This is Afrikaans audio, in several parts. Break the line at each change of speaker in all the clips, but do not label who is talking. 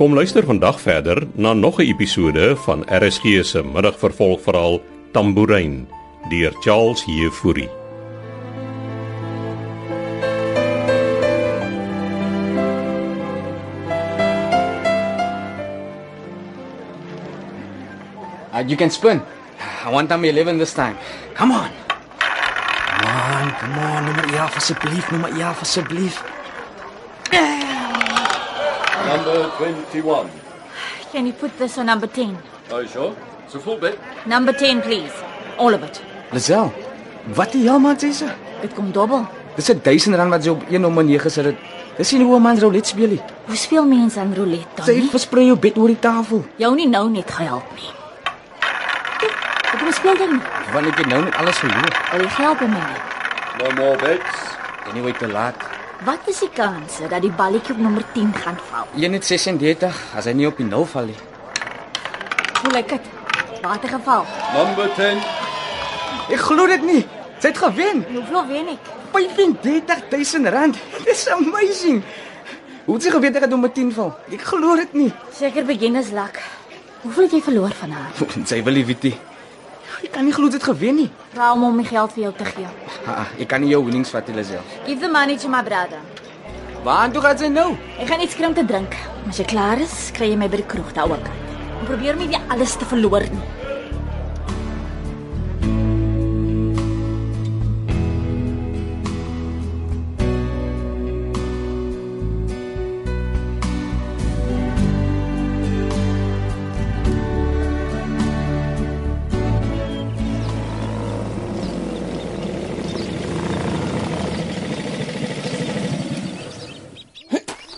Kom luister vandag verder na nog 'n episode van RSG se middagvervolgverhaal Tambourine deur Charles Jefouri.
Uh, you can spin. I want number 11 this time. Come on.
Man, come on, nommer 11 asseblief, nommer 11 asseblief.
Number 21.
Can you put this on number 10?
Are you sure? It's a full bet.
Number 10, please. All of it.
Lazel. Wat die hel man sê se?
Dit kom dobbel.
Dis 'n 1000 rand wat jy op 1 nommer 9 sit. het. Dis nie hoe 'n man roulette speel nie.
Hoeveel mense aan roulette dan?
Sy
nie?
het versprei jou bed oor die tafel.
Jou nie nou net gehelp nie. Ek moet speel dan.
Want ek het nou net alles verloor.
Al die geld by my. nie.
No more bets.
Anyway, te laat.
Wat is die kanse dat die balletjie op nommer 10 gaan val?
1.36 as hy nie op die nul val nie.
Voel ek dit? Water geval.
Number 10.
Ek glo dit nie. Sy het gewen.
En Hoeveel wen ek?
35000 rand. Dis amazing. Hoe het sy geweet ek het hom met 10 val? Ek glo dit nie.
Seker beginners luck. Hoeveel het jy verloor van haar?
Sy wil nie weet nie. Ek kan nie glo dit gewen nie.
Vra hom om my geld vir jou te gee.
Ha, ek kan nie jou winnings vat, Lazel.
Give the money to my brother.
Waar toe gaan sy nou?
Ek gaan iets kry om te drink. As jy klaar is, kry jy my by die kroeg daar ook. En probeer my nie alles te verloor nie.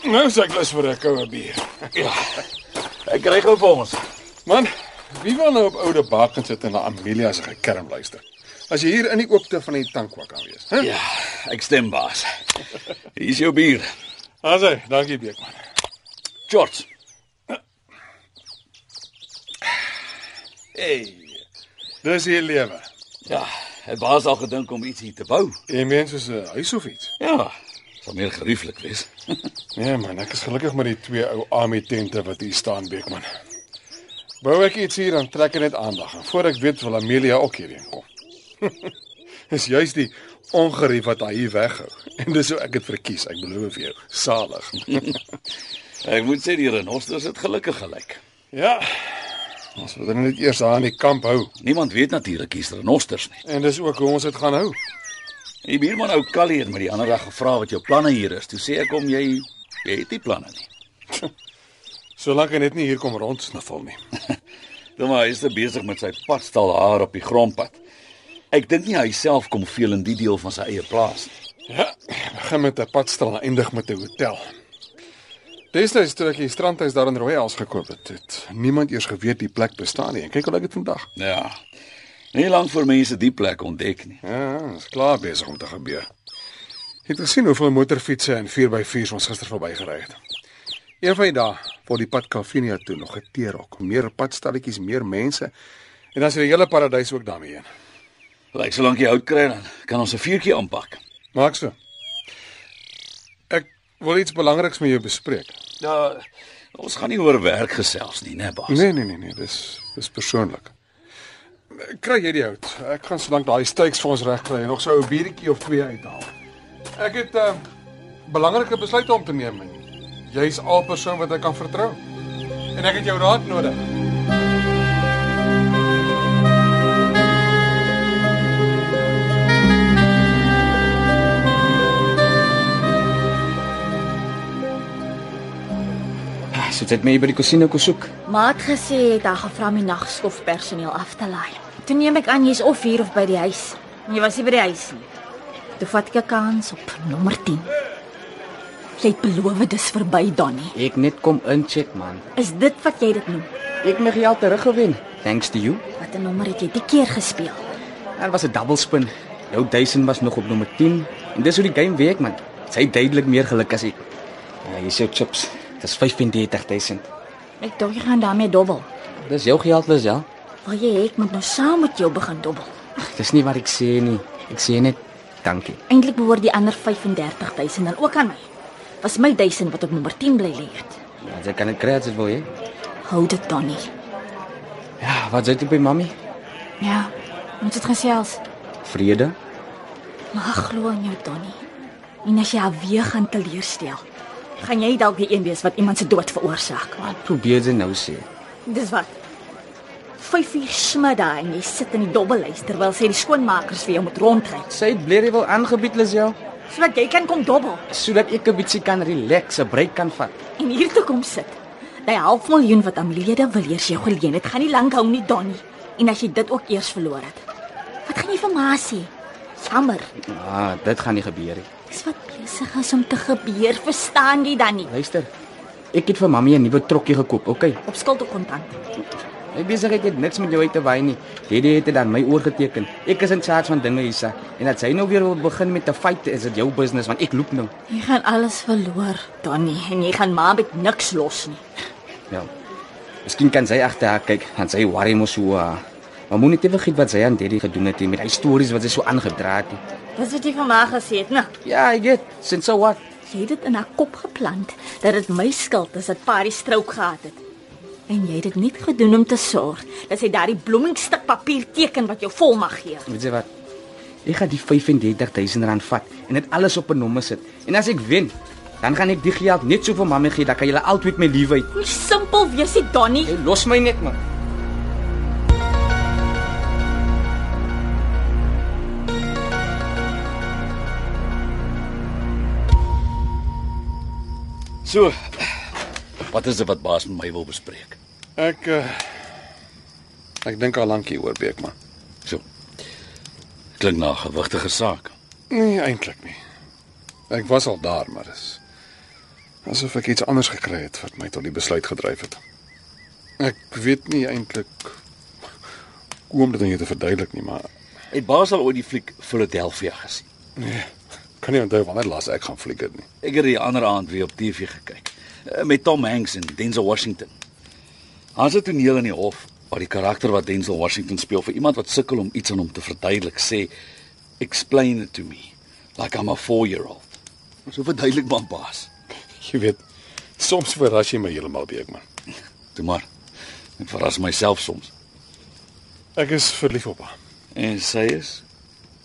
Nou sê ek lus vir 'n koue bier. Ja.
Ek kry gou vir ons.
Man, wie wil nou op oude bakens sit en na Amelia se gekerm luister? As jy hier in die oopte van die tankwak kan wees, hè?
Ja, ek stem baas. Hier is jou bier.
As hy, dankie Beekman.
George. Hey.
Dis hier lewe.
Ja, het baas al gedink om iets hier te bou?
Jy meen soos 'n huis of iets?
Ja, sal meer gerieflik wees.
Nee man, ek is gelukkig met die twee ou army tente wat hier staan Beekman. Bou ek iets hier dan trek ek net aandag en voor ek weet wil Amelia ook hierheen kom. Dis juis die ongerief wat hy hier weghou. En dis hoe ek dit verkies, ek beloof jou, salig.
Ek moet sê die renosters het gelukkig gelyk.
Ja. Ons moet dan net eers aan die kamp hou
Niemand weet natuurlik hier's renosters nie.
en dis ook hoe ons dit gaan hou.
Die buurman ou Callie het met die ander dag gevra wat jou planne hier is. Toe sê ek hom jy, jy het nie planne nie.
Solank hy net nie hier kom rondsniffel nie.
Dink maar hy is te besig met sy pastel haar op die grondpad. Ek dink nie hy self kom veel in die deel van sy eie plaas nie.
Ja, begin met 'n padstal en eindig met 'n hotel. Destyds toe ek die strandhuis daar in Rooiels gekoop het, het niemand eers geweet die plek bestaan nie. En kyk hoe lyk dit vandag.
Ja. Nie lank voor mense die plek ontdek nie.
Ja, is klaar besig om te gebeur. Jy het gesien hoeveel motorfietsse en 4x4's ons gister verbygery het. Een van die dae word die pad Calvinia toe nog geteerok. Meer padstalletjies, meer mense en dan is die hele paradys ook daarmee heen.
Lyk solank jy hout kry dan kan ons 'n vuurtjie aanpak.
Maak so. Ek wil iets belangriks met jou bespreek.
Ja, ons gaan nie oor werk gesels nie, né, baas?
Nee nee nee nee, dis dis persoonlik. Kry jy die hout? Ek gaan solank daai steaks vir ons reg kry en nog so 'n biertjie of twee uithaal. Ek het 'n uh, belangrike besluit om te neem. en Jy's al persoon wat ek kan vertrou. En ek het jou raad nodig.
Ah, so dit het my hier by die casino kom soek.
Maat gesê het hy gevra my nagskof personeel af te laai. Toe neem ek aan jy's of hier of by die huis. En Jy was nie by die huis nie. Toe vat ek 'n kans op nommer 10. Jy het beloof dis verby, Donnie.
Ek net kom incheck man.
Is dit wat jy dit noem?
Ek my geld teruggewen. Thanks to you.
Wat 'n nommer het jy die keer gespeel?
Daar was 'n dubbelspin. Jou 1000 was nog op nommer 10 en dis hoe die game werk man. Sy het duidelik meer geluk as ek. Ja, hier is jou chips. Dis 35000.
Ek dink jy gaan daarmee dobbel.
Dis jou geld, Lazel.
Wil jy ek moet nou saam met jou begin dobbel?
Dis nie wat ek sê nie. Ek sê net dankie.
Eintlik behoort die ander 35000 dan ook aan my. Was my 1000 wat op nommer 10 bly lê het.
Ja, sy kan dit kry as sy wil hê.
Hou dit dan nie.
Ja, wat sê jy by mami?
Ja. Ons het gesels.
Vrede?
Maar ek glo in jou, Donnie. En as jy haar weer gaan teleerstel, gaan jy dalk die een wees wat iemand se dood veroorsaak.
Wat probeer jy nou sê?
Dis wat. 5 uur smiddag en jy sit in die dobbelhuis terwyl sy die skoonmakers vir jou moet rondry.
Sy het Blerrywil aangebied, Lisel,
Sodat jy kan kom dobbel
sodat ek 'n bietjie kan relax, 'n break kan vat.
en hier toe kom sit. Daai half miljoen wat aan lede wil eers jou geleen het, gaan nie lank hou nie, Donnie. En as jy dit ook eers verloor het, wat gaan jy vir ma sê? Jammer.
Ah, dit gaan nie gebeur nie.
Dis wat besig is om te gebeur, verstaan jy dan nie?
Luister. Ek het vir mammy 'n nuwe trokkie gekoop, okay?
Op skuld of kontant.
My besigheid het niks met jou uit te wy nie. Daddy het dit aan my oorgeteken. Ek is in charge van dinge hierse. En dat sy nou weer wil begin met 'n fight, is dit jou business want ek loop nou.
Jy gaan alles verloor, Donnie, en jy gaan maar met niks los nie.
Ja. Miskien kan sy agter haar kyk, want sy worry mos hoe. haar. Maar moenie te vergeet wat sy aan Daddy gedoen het nie, met hy stories wat sy so aangedra het. nie.
Dis wat jy vir my gesê het, nou. né?
Ja, ek weet. Since so what?
Jy het dit in haar kop geplant dat dit my skuld is dat Parie strook gehad het. En jy het dit nie gedoen om te sorg dat sy daardie bloemingstuk papier teken wat jou volmag gee.
Weet jy wat? Ek gaan die 35000 rand vat en dit alles op 'n nommer sit. En as ek wen, dan gaan ek die geld net so vir mamma gee, dan kan julle altyd my lief hê.
Hoe simpel wees dit, Donnie?
Jy los my net man.
So, wat is dit wat baas met my wil bespreek?
Ek eh, ek dink al lank hier oor Beekman.
So. Klink na 'n gewigtige saak.
Nee, eintlik nie. Ek was al daar, maar is asof ek iets anders gekry het wat my tot die besluit gedryf het. Ek weet nie eintlik hoe om dit aan jou te verduidelik nie, maar
Het baas al ooit die fliek Philadelphia gesien?
kan nie onthou wanneer laas ek gaan fliek het nie.
Ek het die ander aand weer op TV gekyk eh, met Tom Hanks en Denzel Washington. Ons het 'n toneel in die hof waar die karakter wat Denzel Washington speel vir iemand wat sukkel om iets aan hom te verduidelik sê, "Explain it to me like I'm a 4-year-old." So verduidelik maar baas.
Jy weet, soms verras jy my heeltemal, Beekman.
Toe maar. Ek verras myself soms.
Ek is verlief op haar.
En sy is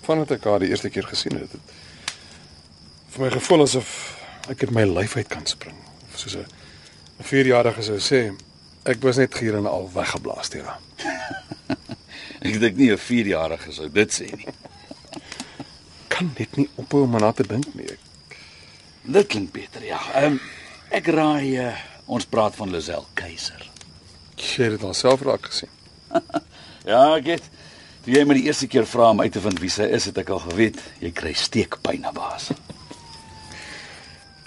Vandat ek haar die eerste keer gesien het, het vir my gevoel asof ek uit my lyf uit kan spring. Of soos 'n 'n 4-jarige sou sê, ek was net gier en al weggeblaas deur haar.
ek dink nie 'n 4-jarige sou dit sê nie.
Kan net nie ophou om aan haar te dink nie. Ek
Dit klink beter, ja. Ehm um, ek raai uh, ons praat van Lazel Keiser.
Jy het dit alself raak gesien.
Ja, ek het toe jy my die eerste keer vra om uit te vind wie sy is, het ek al geweet jy kry steekpyn na baas.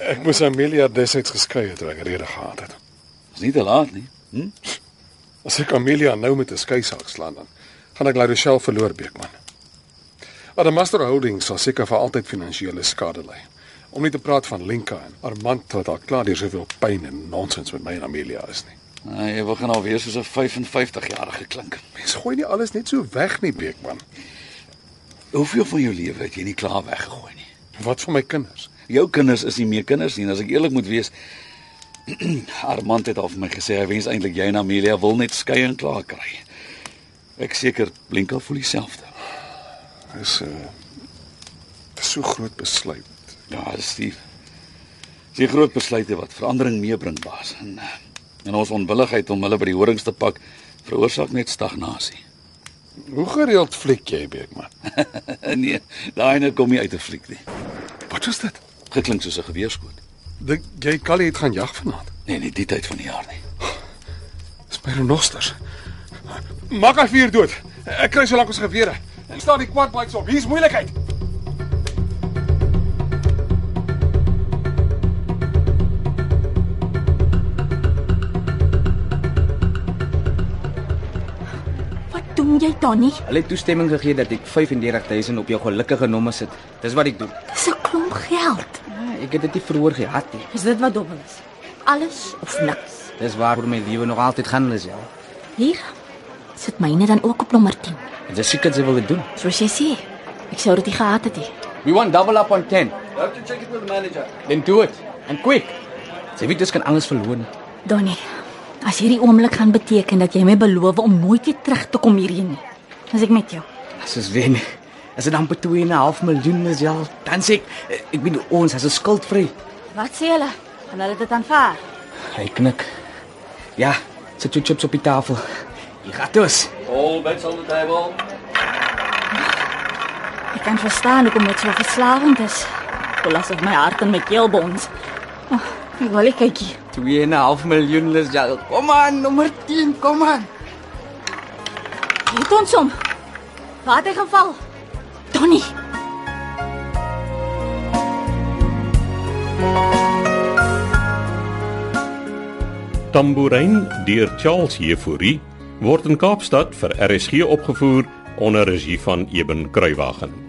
Ek moes Amelia destyds geskei het toe ek rede gehad het.
Dis nie te laat nie. Hm?
As ek Amelia nou met 'n skeisaak slaan dan gaan ek La Rochelle verloor, Beekman. Adamaster Holdings sal seker vir altyd finansiële skade ly. Om nie te praat van Lenka en Armand wat al klaar deur soveel pyn en nonsens met my en Amelia is nie.
Nou, jy begin al weer soos 'n 55-jarige klink.
Mens gooi nie alles net so weg nie, Beekman.
Hoeveel van jou lewe het jy nie klaar weggegooi nie?
Wat van my kinders?
Jou kinders is nie meer kinders nie, en as ek eerlik moet wees. Armand het al vir my gesê hy wens eintlik jy en Amelia wil net skei en klaar kry. Ek seker Blinka voel dieselfde.
Dis 'n uh, dis so groot besluit.
Ja, dis die dis die groot besluite wat verandering meebring, baas. En eh, en ons onwilligheid om hulle by die horings te pak veroorsaak net stagnasie.
Hoe gereeld fliek jy, Beekman?
nee, daai nou kom nie uit 'n fliek nie.
Wat is dit?
Geklink soos 'n geweerskoot.
Dink jy Callie het gaan jag vanaand?
Nee, nie die tyd van die jaar nie.
Dis my renosters. Maak hy vuur dood. Ek kry so lank ons gewere. Ek staan die quad bikes op. Hier's moeilikheid.
Wat doen jy, Donnie?
Hulle het toestemming gegee dat ek 35000 op jou gelukkige nommer sit. Dis wat ek doen.
Dis 'n klomp geld.
Ja, ek het dit nie verhoor gehad nie.
Is dit wat dobbel is? Alles of niks.
Dis waaroor my lewe nog altyd gaan, Lisel.
Hier sit myne dan ook op nommer 10.
En dis seker wat sy wil dit doen.
Soos jy sê, ek sou dit nie gehad het nie.
We want double up on 10.
You have to check it with the manager.
Then do it and quick. Sy weet dis kan alles verloor nie.
Donnie, as hierdie oomblik gaan beteken dat jy my beloof om nooit weer terug te kom hierheen nie, as ek met jou.
As ons wen, as dit amper 2 en 'n half miljoen is ja, dan sê ek eh, ek bedoel ons as 'n skuldvry.
Wat sê hulle? Gaan hulle dit aanvaar?
Hy knik. Ja, sit jou chips op die tafel. Jy gaan dus.
All bets on the table.
Ek kan verstaan hoekom dit so verslawend is. Voel asof my hart in my keel bons. Oh, ek wil nie kyk hier.
2 en 'n half miljoen is ja. Kom aan, nommer 10, kom aan.
Hier het ons hom. Waar het hy gaan val? Donnie.
Tambourin deur Charles Jefouri word in Kaapstad vir RSG opgevoer onder regie van Eben Kruiwagen.